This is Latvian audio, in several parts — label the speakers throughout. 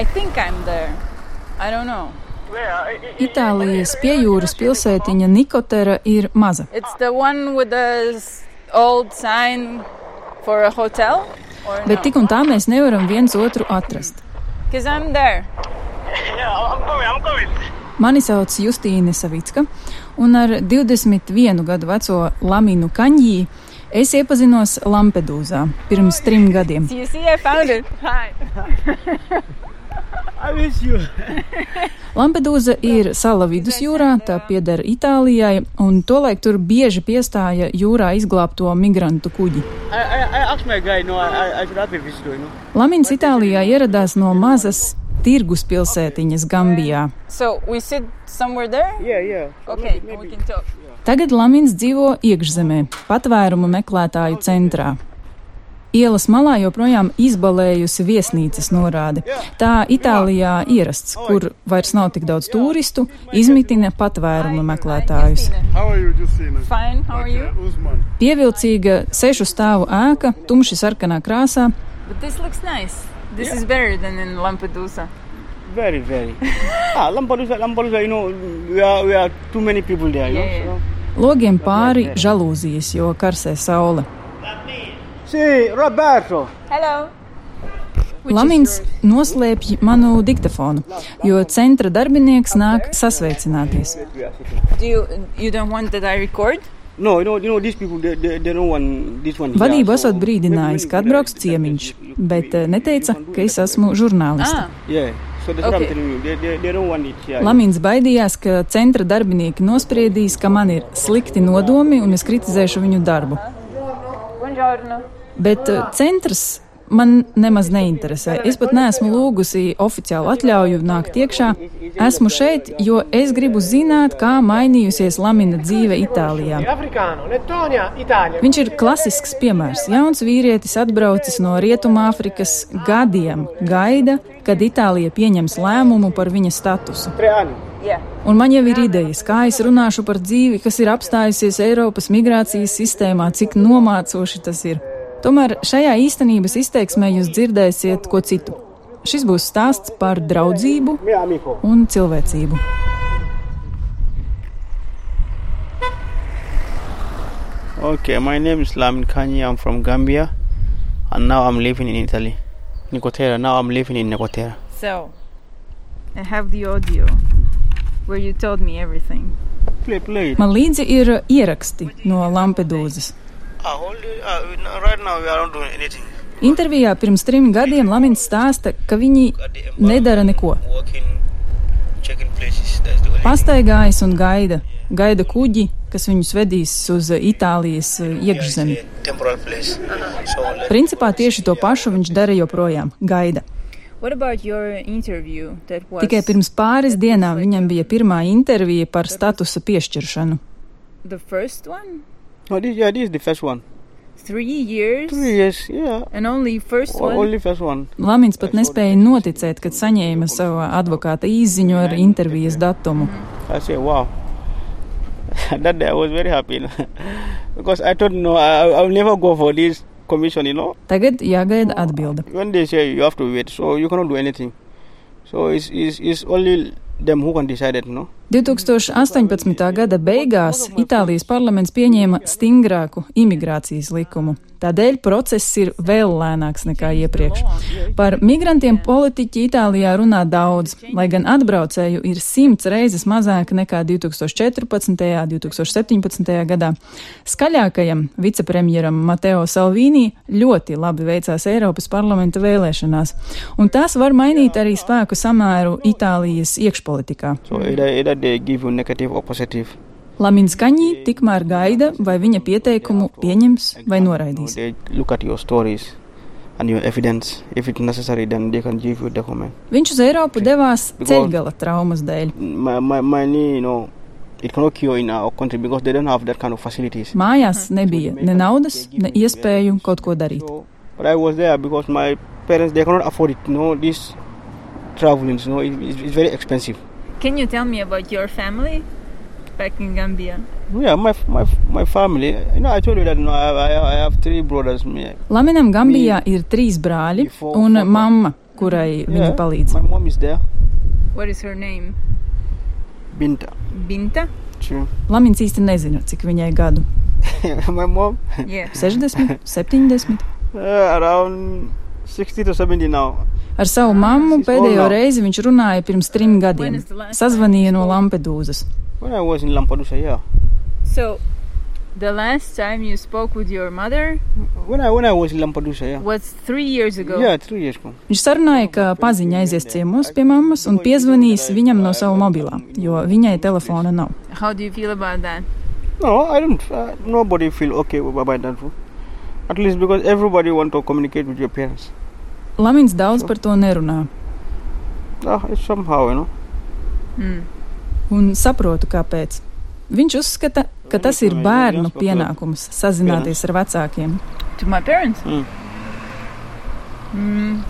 Speaker 1: I think I'm there. I don't know.
Speaker 2: Itālijas piejūras pilsētiņa Nikotera ir maza.
Speaker 1: It's the one with the s- old sign for a hotel. Or
Speaker 2: Bet tik un tā mēs nevaram viens otru atrast.
Speaker 1: Because I'm there.
Speaker 3: Yeah, I'm coming, I'm coming.
Speaker 2: Mani sauc Justīne Savicka, un ar 21 gadu veco Laminu Kaņģī es iepazinos Lampedūzā pirms trim gadiem.
Speaker 1: Do you see? I found it. Hi.
Speaker 3: I miss you.
Speaker 2: Lampedūza ir sala vidusjūrā, tā pieder Itālijai, un tolaik tur bieži piestāja jūrā izglābto migrantu kuģi.
Speaker 3: I, I, I asked my guy, no, I, I- I should have a visitor, you know.
Speaker 2: Lamins Itālijā ieradās no mazas tirgus pilsētiņas Gambijā.
Speaker 1: So we sit somewhere there.
Speaker 3: Yeah, yeah.
Speaker 1: Okay, we can talk.
Speaker 2: Tagad Lamins dzīvo iekšzemē, patvērumu meklētāju centrā. Ielas malā joprojām izbalējusi viesnīcas norāde. Tā Itālijā ierasts, kur vairs nav tik daudz turistu, izmitina patvērumu meklētājus.
Speaker 4: How are you, Justina?
Speaker 1: Fine. How are you?
Speaker 4: Usman.
Speaker 2: Pievilcīga sešu stāvu ēka, tumši sarkanā krāsā,
Speaker 1: But this looks nice. This is better than in Lampedusa.
Speaker 3: Very, very. ah, Lampedusa, Lampedusa, you know, we are, we are too many people there, you
Speaker 1: Yeah,
Speaker 3: know.
Speaker 2: logiem pāri žalūzijas, jo karsē saule.
Speaker 3: So. See, Roberto.
Speaker 1: Hello.
Speaker 2: Lamins noslēpj manu diktafonu, jo centra darbinieks nāk sasveicināties.
Speaker 1: Do you you don't want that I record?
Speaker 3: No, you know, you know, these people, they, they, they don't want this one.
Speaker 2: Vadību
Speaker 3: here, so
Speaker 2: esot brīdinājis, ka atbrauks ciemiņš, bet eh, neteica, ka es esmu žurnāliste.
Speaker 1: Ah,
Speaker 3: Yeah, so that's what I'm
Speaker 1: Okay.
Speaker 3: telling you. They, they, they don't want it here.
Speaker 2: Lamins baidījās, ka centra darbinieki nospriedīs, ka man ir slikti nodomi un es kritizēšu viņu darbu.
Speaker 1: buongiorno.
Speaker 2: Bet eh, centrs man nemaz neinteresē. Es pat neesmu lūgusi oficiālu atļauju nākt iekšā. Esmu šeit, jo es gribu zināt, kā mainījusies Lamina dzīve Itālijā.
Speaker 5: Africano, Lettonia, Italia.
Speaker 2: Viņš ir klasisks piemērs. Jauns vīrietis atbraucis no Rietumāfrikas gadiem, gaida, kad Itālija pieņems lēmumu par viņa statusu.
Speaker 3: Tre anni.
Speaker 1: Yeah.
Speaker 2: Un man jau ir idejas, kā es runāšu par dzīvi, kas ir apstājusies Eiropas migrācijas sistēmā, cik nomācoši tas ir. Tomēr šajā īstenības izteiksmē jūs dzirdēsiet ko citu. Šis būs stāsts par draudzību
Speaker 3: Mio amico.
Speaker 2: un cilvēcību.
Speaker 3: Okay, my name is Lamin Kanye. I'm from Gambia, and now I'm living in Italy, Nicotera. Now I'm living in Nicotera.
Speaker 1: So I have the audio where you told me everything.
Speaker 3: Play, play.
Speaker 2: Man līdzi ir ieraksti no Lampedūzas.
Speaker 3: Ah, right now we are not doing anything.
Speaker 2: Intervijā pirms trim gadiem Lamins stāsta, ka viņi nedara neko.
Speaker 3: Walking, checking places. That's the only.
Speaker 2: Pastaigājas un gaida. Gaida kuģi, kas viņus vedīs uz Itālijas eh, iekšzemi.
Speaker 3: temporal place. So
Speaker 2: Principā tieši to pašu viņš dara joprojām - gaida.
Speaker 1: What about your interview that was
Speaker 2: Tikai pirms pāris dienām viņam bija pirmā intervija par statusa piešķiršanu.
Speaker 1: the first one?
Speaker 3: no, this yeah, this is the first one.
Speaker 1: 3 years?
Speaker 3: Three years, yeah.
Speaker 1: And only first
Speaker 3: O-
Speaker 1: one?
Speaker 3: Only first one.
Speaker 2: Lamins pat nespēja noticēt, kad saņēma savu advokāta īziņu ar intervijas datumu.
Speaker 3: I say wow. that day I was very happy because I thought no, I, I'll never go for this commission, you know.
Speaker 2: Tagad jāgaida atbilde.
Speaker 3: when they say you have to wait, so you cannot do anything. So it's, it's, it's only them who can decide it, no?
Speaker 2: 2018. gada beigās Itālijas parlaments pieņēma stingrāku imigrācijas likumu. Tādēļ process ir vēl lēnāks nekā iepriekš. Par migrantiem politiķi Itālijā runā daudz, lai gan atbraucēju ir simts reizes mazāk nekā 2014. un 2017. gadā. Skaļākajam vicepremjeram Mateo Salvīnī ļoti labi veicās Eiropas parlamenta vēlēšanās, un tās var mainīt arī spēku samēru Itālijas iekšpolitikā.
Speaker 3: So either, either they give you negative or positive.
Speaker 2: Lamins Kaņī tikmēr gaida, vai viņa pieteikumu pieņems vai noraidīs.
Speaker 3: They look at your stories and your evidence. If it's necessary, then they can give you document.
Speaker 2: Viņš uz Eiropu devās ceļgala traumas dēļ.
Speaker 3: My, my, my knee, you know, it cannot cure in our country because they don't have that kind of facilities.
Speaker 2: Mājās nebija ne naudas, ne iespēju kaut ko darīt.
Speaker 3: So, but I was there because my parents, they cannot afford it, you know, this traveling, you know, it, it's, it's very expensive.
Speaker 1: Can you tell me about your family back in Gambia?
Speaker 3: Yeah, my, my, my family, you know, I told you that, you know, I, I, I have three brothers, me,
Speaker 2: Laminam Gambijā ir trīs brāļi un mamma. kurai
Speaker 3: Yeah.
Speaker 2: viņa palīdz.
Speaker 3: My mom is there.
Speaker 1: What is her name?
Speaker 3: Binta.
Speaker 1: Binta?
Speaker 3: True.
Speaker 2: Lamins īsti nezina, cik viņai gadu
Speaker 3: my mom
Speaker 1: Yeah.
Speaker 2: - 60, 70.
Speaker 3: uh, around 60 to 70 now.
Speaker 2: Ar savu mammu
Speaker 3: She's
Speaker 2: pēdējo
Speaker 3: old now.
Speaker 2: reizi viņš runāja pirms trim
Speaker 1: When
Speaker 2: gadiem.
Speaker 1: is the last
Speaker 2: Sazvanīja
Speaker 1: time
Speaker 2: no
Speaker 1: you spoke?
Speaker 2: Lampedūzas.
Speaker 3: When I was in Lampedusa, yeah.
Speaker 1: So, the last time you spoke with your mother
Speaker 3: When I when I was in Lampedusa, yeah.
Speaker 1: was three years ago.
Speaker 3: Yeah, three years ago.
Speaker 2: Viņš sarunāja, ka paziņa aizies ciemos pie mammas un piezvanīs viņam no sava mobilā, jo viņai telefona nav.
Speaker 1: How do you feel about that?
Speaker 3: No, I don't. Uh, nobody feel okay about that. At least because everybody want to communicate with your parents.
Speaker 2: Lamins daudz par to nerunā.
Speaker 3: Ah, it's somehow, you know.
Speaker 1: Mm.
Speaker 2: Un saprotu, kāpēc. Viņš uzskata, ka tas ir bērnu pienākums sazināties ar vecākiem.
Speaker 1: To my parents?
Speaker 3: Mm.
Speaker 1: Mm.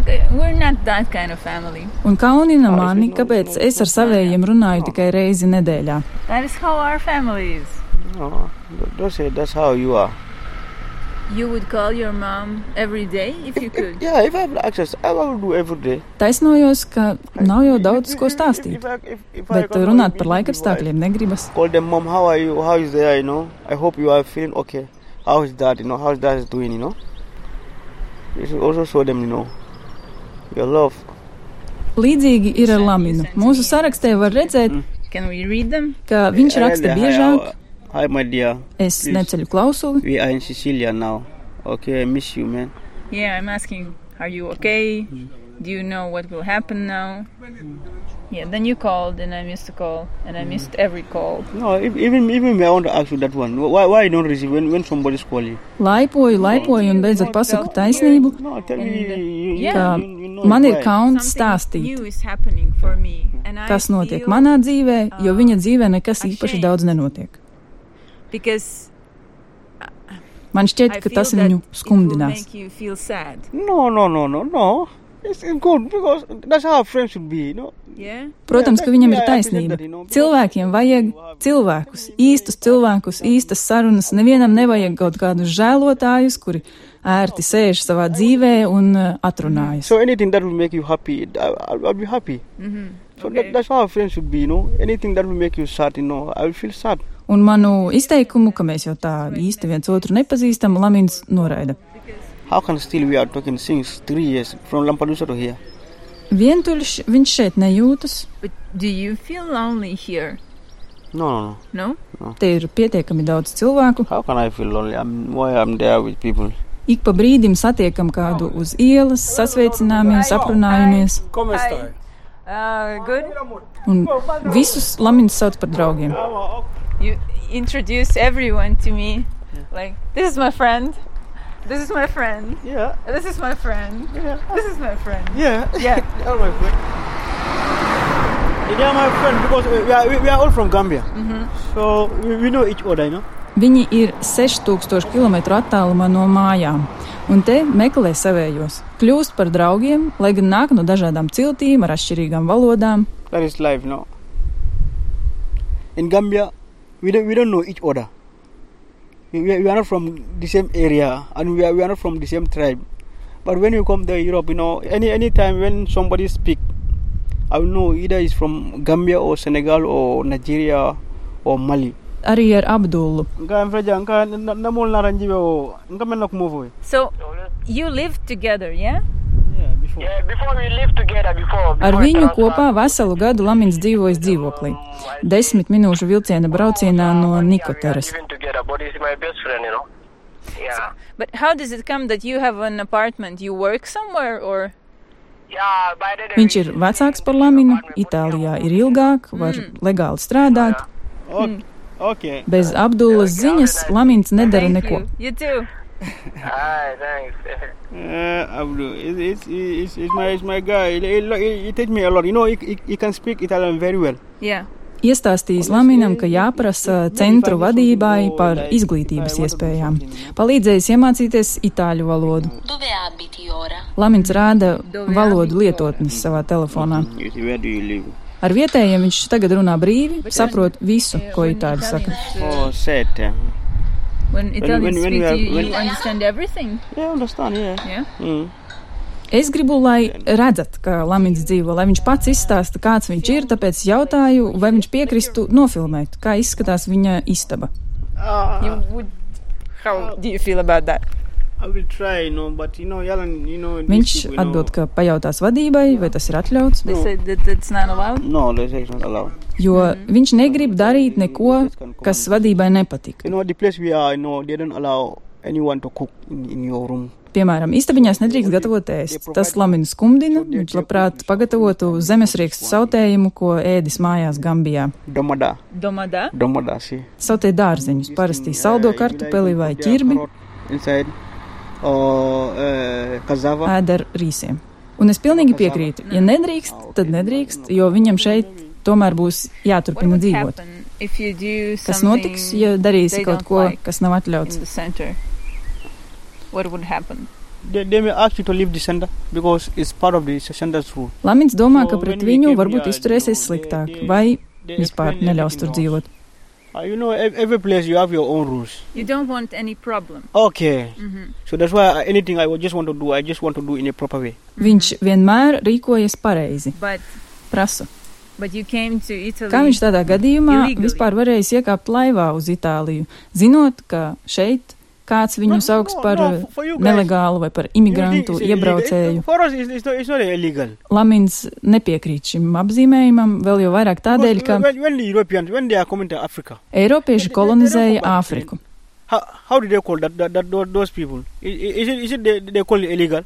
Speaker 1: Okay, We're not that kind of family.
Speaker 2: Un kaunina mani, kāpēc es ar saviem runāju tikai reizi nedēļā.
Speaker 1: That is how our family is.
Speaker 3: No, th- don't say that's how you are.
Speaker 1: You would call your mom every day if you could.
Speaker 3: Yeah, if I have access, I will do every day.
Speaker 2: Taisnojos, ka nav jau daudz ko
Speaker 3: If
Speaker 2: stāstīt,
Speaker 3: I- if- if I
Speaker 2: bet uh,
Speaker 3: come
Speaker 2: runāt
Speaker 3: out immediately,
Speaker 2: par
Speaker 3: why?
Speaker 2: laikapstākļiem negribas.
Speaker 3: Call them, mom. How are you? How is there? You know. I hope you are feeling okay. How is dad? You know. How is dad is doing? You know. You should also show them, you know, your love.
Speaker 2: Līdzīgi ir ar Laminu. Mūsu sarakstē var redzēt,
Speaker 1: Can we read them?
Speaker 2: ka viņš raksta biežāk,
Speaker 3: Hi, my dear.
Speaker 2: es neceļu klausuli,
Speaker 3: We are in Sicilia now. Okay, I miss you, man.
Speaker 1: Yeah, I'm asking, are you okay? Do you know what will happen now? Yeah, then you called and I missed a call and
Speaker 2: Mm.
Speaker 1: I missed every call.
Speaker 3: No, if, even even me, I want to ask you that one. Why why you don't receive when when somebody's calling?
Speaker 2: laipoju, laipoju un beidzot pasaku taisnību,
Speaker 3: No, tell me.
Speaker 1: And, uh,
Speaker 3: You, you,
Speaker 1: yeah.
Speaker 3: you, you know
Speaker 2: Man ir
Speaker 3: why.
Speaker 2: kauns
Speaker 1: Something
Speaker 2: stāstīt,
Speaker 1: new is happening for me. And I
Speaker 2: kas notiek
Speaker 1: feel-
Speaker 2: manā dzīvē, jo viņa dzīvē nekas īpaši daudz nenotiek.
Speaker 1: Because
Speaker 2: Man šķiet,
Speaker 1: I
Speaker 2: ka
Speaker 1: feel
Speaker 2: tas
Speaker 1: that
Speaker 2: viņu
Speaker 1: it will
Speaker 2: skumdinās.
Speaker 1: make you feel sad.
Speaker 3: No, no, no, no, no. It's it's good because that's how friends should be, you know.
Speaker 1: Yeah?
Speaker 2: Protams, ka viņam ir
Speaker 3: Yeah, I think
Speaker 2: taisnība.
Speaker 3: that, you know, because-
Speaker 2: Cilvēkiem vajag cilvēkus, īstus cilvēkus, īstas sarunas. Nevienam nevajag kaut kādus žēlotājus, kuri ērti sēž savā dzīvē un eh, atrunājas.
Speaker 3: So anything that will make you happy, I, I'll, I'll be happy.
Speaker 1: Mm-hmm.
Speaker 3: So
Speaker 1: Okay.
Speaker 3: that, that's how friends should be, you know. Anything that will make you sad, you know, I will feel sad.
Speaker 2: Un manu izteikumu, ka mēs jau tā īsti viens otru nepazīstam, Lamins noraida.
Speaker 3: How can still we are talking since three years from Lampedusa to here?
Speaker 2: Vientuļš viņš šeit nejūtas,
Speaker 1: But do you feel lonely here?
Speaker 3: No, no, no.
Speaker 1: No?
Speaker 2: te ir pietiekami daudz cilvēku.
Speaker 3: How can I feel lonely? I'm why I'm there with people.
Speaker 2: Ik pa brīdim satiekam kādu uz ielas, sasveicināmies, aprunājamies,
Speaker 4: Come stai?
Speaker 1: Uh, good.
Speaker 2: un visus Lamins sauc par draugiem.
Speaker 1: You introduce everyone to me. Like, this is my friend. This is my friend.
Speaker 3: Yeah,
Speaker 1: This is my friend.
Speaker 3: yeah,
Speaker 1: This is my friend.
Speaker 3: yeah.
Speaker 1: Yeah.
Speaker 3: They are my friend. They are my friend because we- we are, we, we are all from Gambia.
Speaker 1: Mm-hmm.
Speaker 3: So we, we know each other, you know.
Speaker 2: Viņi ir 6000 km attālumā no mājām, un te meklē savējos. Kļūst par draugiem, lai gan nāk no dažādām ciltīm, ar atšķirīgām valodām.
Speaker 3: That is life, you know. In Gambia, we don't, we don't know each other. We, we, are- we are not from the same area and we are, we are not from the same tribe. But when you come to Europe, you know, any any time when somebody speak, I will know either he's from Gambia or Senegal or Nigeria or Mali.
Speaker 2: Arī ar Abdulu.
Speaker 3: Nga mfreja, nga na- namol na ranjiwe o, nga men na kumovo.
Speaker 1: So, you live together, yeah?
Speaker 3: Yeah, before.
Speaker 4: Yeah, before we live together
Speaker 2: Ar
Speaker 4: before. before
Speaker 2: viņu
Speaker 4: transfer.
Speaker 2: kopā veselu gadu Lamins dzīvojas dzīvoklī. Desmit minūšu vilciena braucienā no
Speaker 4: Yeah,
Speaker 2: Nikoteras.
Speaker 4: We are living together, but he's my best friend, you know. Yeah.
Speaker 1: But how does it come that you have an apartment? You work somewhere or?
Speaker 4: Yeah, by the
Speaker 2: Viņš ir vecāks par Laminu, Itālijā ir ilgāk, var legāli strādāt.
Speaker 3: Okay. okay.
Speaker 2: Bez Abdulas ziņas Lamins nedara
Speaker 1: Thank
Speaker 2: neko.
Speaker 1: you. You too.
Speaker 4: Hi, thanks.
Speaker 3: Uh, Abdul, it's, it's, it's, it's, my, it's my guy. He, he, he, he teach me a lot. You know, he, he, he can speak Italian very well.
Speaker 1: Yeah.
Speaker 2: Iestāstījis Laminam, ka jāprasa centru vadībai par izglītības iespējām. Palīdzējis iemācīties itāļu valodu.
Speaker 6: Dove abiti ora?
Speaker 2: Lamins rāda valodu lietotnes savā telefonā.
Speaker 3: You see, where do you live?
Speaker 2: Ar vietējiem viņš tagad runā brīvi, saprot visu, ko itāļi saka.
Speaker 3: Oh, set. Yeah,
Speaker 1: When
Speaker 3: Italians
Speaker 1: Italians
Speaker 3: when
Speaker 1: speak,
Speaker 3: we are-
Speaker 1: you,
Speaker 3: when-
Speaker 1: you understand everything.
Speaker 3: I understand, yeah.
Speaker 1: Yeah.
Speaker 3: Mm.
Speaker 2: Es gribu, lai redzat, ka Lamins dzīvo, lai viņš pats izstāsta, kāds viņš ir, tāpēc jautāju, vai viņš piekristu nofilmēt, kā izskatās viņa istaba.
Speaker 6: You would. How do you feel about that?
Speaker 3: Ah, I will try, you know, but you know, Yalan, you know, these
Speaker 2: Viņš
Speaker 3: people, you know-
Speaker 2: atbild, ka pajautās vadībai, vai tas ir atļauts,
Speaker 1: They said that it's not allowed.
Speaker 3: No, they say it's not allowed.
Speaker 2: jo viņš negrib darīt neko, kas vadībai nepatika.
Speaker 3: You know, the place we are, you know, they don't allow anyone to cook in, in your room.
Speaker 2: Piemēram, istabiņās nedrīkst gatavot ēst. Tas laminu skumdina, viņš labprāt pagatavotu zemesriekstu sautējumu, ko ēdis mājās Gambijā.
Speaker 3: Domada,
Speaker 1: Domada.
Speaker 3: domada, see.
Speaker 2: Sautē dārzeņus, parasti saldo kartupeli vai ķirbi,
Speaker 3: Inside, or uh, cassava.
Speaker 2: ēd ar rīsiem. Un es pilnīgi piekrītu, ja nedrīkst, tad nedrīkst, jo viņam šeit tomēr būs
Speaker 1: What
Speaker 2: jāturpina
Speaker 1: would
Speaker 2: dzīvot.
Speaker 1: happen if you do
Speaker 2: Kas
Speaker 1: something
Speaker 2: notiks, ja darīsi kaut ko, kas nav
Speaker 1: in
Speaker 2: atļauts?
Speaker 1: the center? What would happen?
Speaker 3: They, they may ask you to leave the center because it's part of the center's rule.
Speaker 2: Lamins domā, ka pret viņu varbūt izturēsies sliktāk vai vispār neļaus tur dzīvot.
Speaker 3: Uh, you know, ev- every place you have your own rules.
Speaker 1: You don't want any problem.
Speaker 3: Okay,
Speaker 1: hmm
Speaker 3: so that's why I- anything I would just want to do, I just want to do in a proper way.
Speaker 2: Viņš vienmēr rīkojas pareizi.
Speaker 1: But
Speaker 2: Prasu.
Speaker 1: but you came to Italy.
Speaker 2: Kā viņš tādā gadījumā
Speaker 1: Illegally.
Speaker 2: vispār varēs iekāpt laivā uz Itāliju, zinot, ka šeit kāds viņu
Speaker 3: No,
Speaker 2: sauks
Speaker 3: no,
Speaker 2: par
Speaker 3: no,
Speaker 2: eh,
Speaker 3: for- for you guys.
Speaker 2: nelegālu vai par
Speaker 3: You think
Speaker 2: imigrantu,
Speaker 3: it's illegal?
Speaker 2: iebraucēju.
Speaker 3: For us, it's, it's, not, it's not illegal.
Speaker 2: Lamins nepiekrīt šim apzīmējumam, vēl jau vairāk tādēļ, ka
Speaker 3: Because when, when the Europeans, when they are coming to Africa,
Speaker 2: Eiropieši
Speaker 3: they- they- they
Speaker 2: kolonizēja
Speaker 3: don't go back
Speaker 2: Āfriku.
Speaker 3: how, how do they call that, that, that tho- those people? I- i- Is it, is it they, they call it illegal?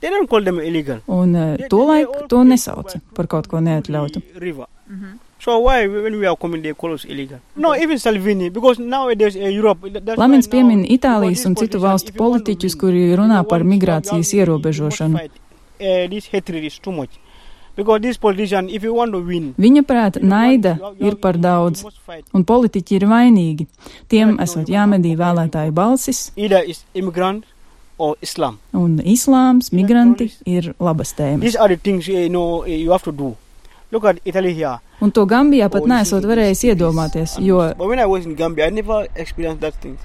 Speaker 3: They don't call them illegal.
Speaker 2: Un eh,
Speaker 3: They- they- they
Speaker 2: tolaik
Speaker 3: all
Speaker 2: to
Speaker 3: came
Speaker 2: nesauca
Speaker 3: by-
Speaker 2: par kaut ko
Speaker 3: through
Speaker 2: neatļautu.
Speaker 3: the River. So why when we are coming they call us illegal? No, even Salvini, because nowadays uh, Europe. that- that's
Speaker 2: Lamins
Speaker 3: why now-
Speaker 2: piemin Itālijas
Speaker 3: because
Speaker 2: un
Speaker 3: this
Speaker 2: citu
Speaker 3: position,
Speaker 2: valstu
Speaker 3: if you want to
Speaker 2: politiķus,
Speaker 3: win,
Speaker 2: kuri runā
Speaker 3: if you
Speaker 2: par
Speaker 3: want-
Speaker 2: migrācijas
Speaker 3: you- you- you
Speaker 2: ierobežošanu.
Speaker 3: must fight. Eh, This hatred is too much. Because this politician, if you want to win,
Speaker 2: Viņa prāt, naida
Speaker 3: you- you-
Speaker 2: ir par
Speaker 3: you-
Speaker 2: daudz,
Speaker 3: you must fight.
Speaker 2: un politiķi ir vainīgi. Tiem esot jāmedī vēlētāju balsis,
Speaker 3: Either it's immigrant or Islam.
Speaker 2: un islāms, migranti ir labas tēmas.
Speaker 3: These are the things eh, you know eh, you have to do. Look at Italy here.
Speaker 2: Un to Gambijā pat nesot varējis iedomāties, jo
Speaker 3: But when I was in Gambia, I never experienced that thing.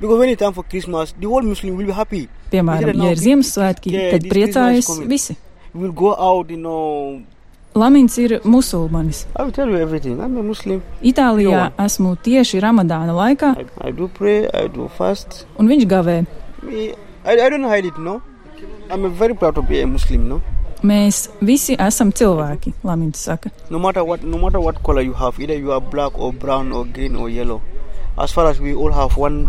Speaker 3: Because when it's time for Christmas, the whole Muslim will be happy.
Speaker 2: Piemēram, ja ir Ziemassvētki, tad priecājas visi.
Speaker 3: We will go out, you know.
Speaker 2: Lamins ir musulmanis.
Speaker 3: I will tell you everything. I'm a Muslim.
Speaker 2: Itālijā esmu tieši Ramadāna laikā,
Speaker 3: I, I do pray. I do fast.
Speaker 2: un viņš gavē.
Speaker 3: Me- I, I don't hide it. No, I'm a very proud to be a Muslim. No,
Speaker 2: Mēs visi esam cilvēki, Lamins saka.
Speaker 3: no matter what, no matter what color you have, either you are black or brown or green or yellow. As far as we all have one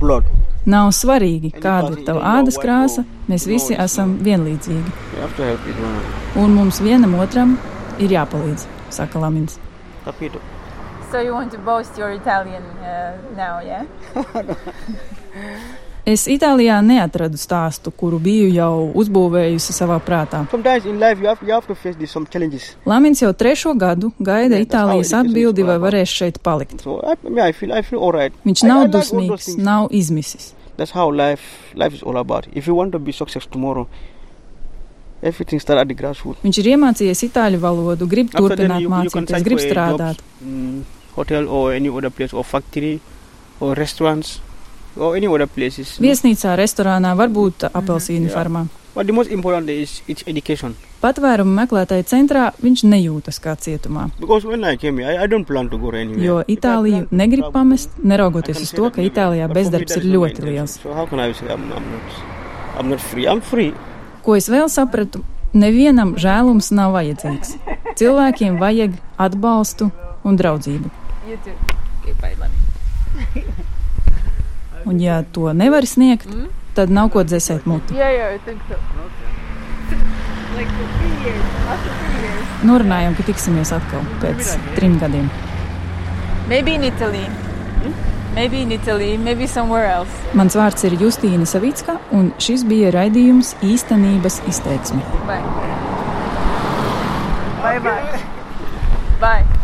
Speaker 3: blood.
Speaker 2: Nav svarīgi, kāda ir tava ādas krāsa, mēs visi esam vienlīdzīgi,
Speaker 3: You have to help each one.
Speaker 2: un mums vienam otram ir jāpalīdz, saka Lamins.
Speaker 3: Capito?
Speaker 1: So you want to boast your Italian uh, now, yeah?
Speaker 2: Es Itālijā neatradu stāstu, kuru biju jau uzbūvējusi savā prātā.
Speaker 3: Sometimes in life you have you have to face these, some challenges.
Speaker 2: Lamins jau trešo gadu gaida Itālijas atbildi, vai varēs šeit palikt.
Speaker 3: So I, yeah, I feel I feel alright.
Speaker 2: Viņš
Speaker 3: I- I
Speaker 2: nav
Speaker 3: like all those
Speaker 2: dusmīgs,
Speaker 3: things.
Speaker 2: nav izmisis.
Speaker 3: That's how life life is all about. If you want to be success tomorrow, everything start at the grassroots.
Speaker 2: Viņš ir iemācījies itāļu valodu, grib
Speaker 3: After then
Speaker 2: turpināt
Speaker 3: you- you can
Speaker 2: mācīties,
Speaker 3: search
Speaker 2: grib
Speaker 3: for a
Speaker 2: strādāt.
Speaker 3: Mm, hotel or any other place or factory or restaurants or any other places. you know.
Speaker 2: Viesnīcā, restorānā, varbūt
Speaker 3: Mm-hmm.
Speaker 2: apelsīnu
Speaker 3: Jā.
Speaker 2: farmā.
Speaker 3: But the most important is it's education.
Speaker 2: Patvērumu meklētāju centrā viņš nejūtas kā cietumā,
Speaker 3: Because when I came here, I, I don't plan to go anywhere.
Speaker 2: jo
Speaker 3: If I plan
Speaker 2: Itāliju
Speaker 3: to
Speaker 2: negrib
Speaker 3: travel,
Speaker 2: pamest,
Speaker 3: I can
Speaker 2: neraugoties uz
Speaker 3: say
Speaker 2: to,
Speaker 3: that
Speaker 2: ka
Speaker 3: maybe.
Speaker 2: Itālijā
Speaker 3: But for me,
Speaker 2: bezdarbs
Speaker 3: that
Speaker 2: ir
Speaker 3: is not my
Speaker 2: ļoti
Speaker 3: intention.
Speaker 2: liels.
Speaker 3: So how can I say I'm, I'm not I'm not free? I'm free.
Speaker 2: Ko es vēl sapratu, nevienam žēlums nav vajadzīgs. Cilvēkiem vajag atbalstu un draudzību.
Speaker 1: You too. Okay, bye, Lamina.
Speaker 2: Un, ja to nevar sniegt, tad nav ko dzēsēt muti.
Speaker 6: Yeah, yeah, I think so.
Speaker 2: Norunājām, ka tiksimies atkal pēc trim gadiem.
Speaker 1: Maybe in Italy. Maybe in Italy, maybe somewhere else.
Speaker 2: Mans vārds ir Justīna Savicka, un šis bija raidījums īstenības izteiksme.
Speaker 1: Bye. Bye bye. Bye.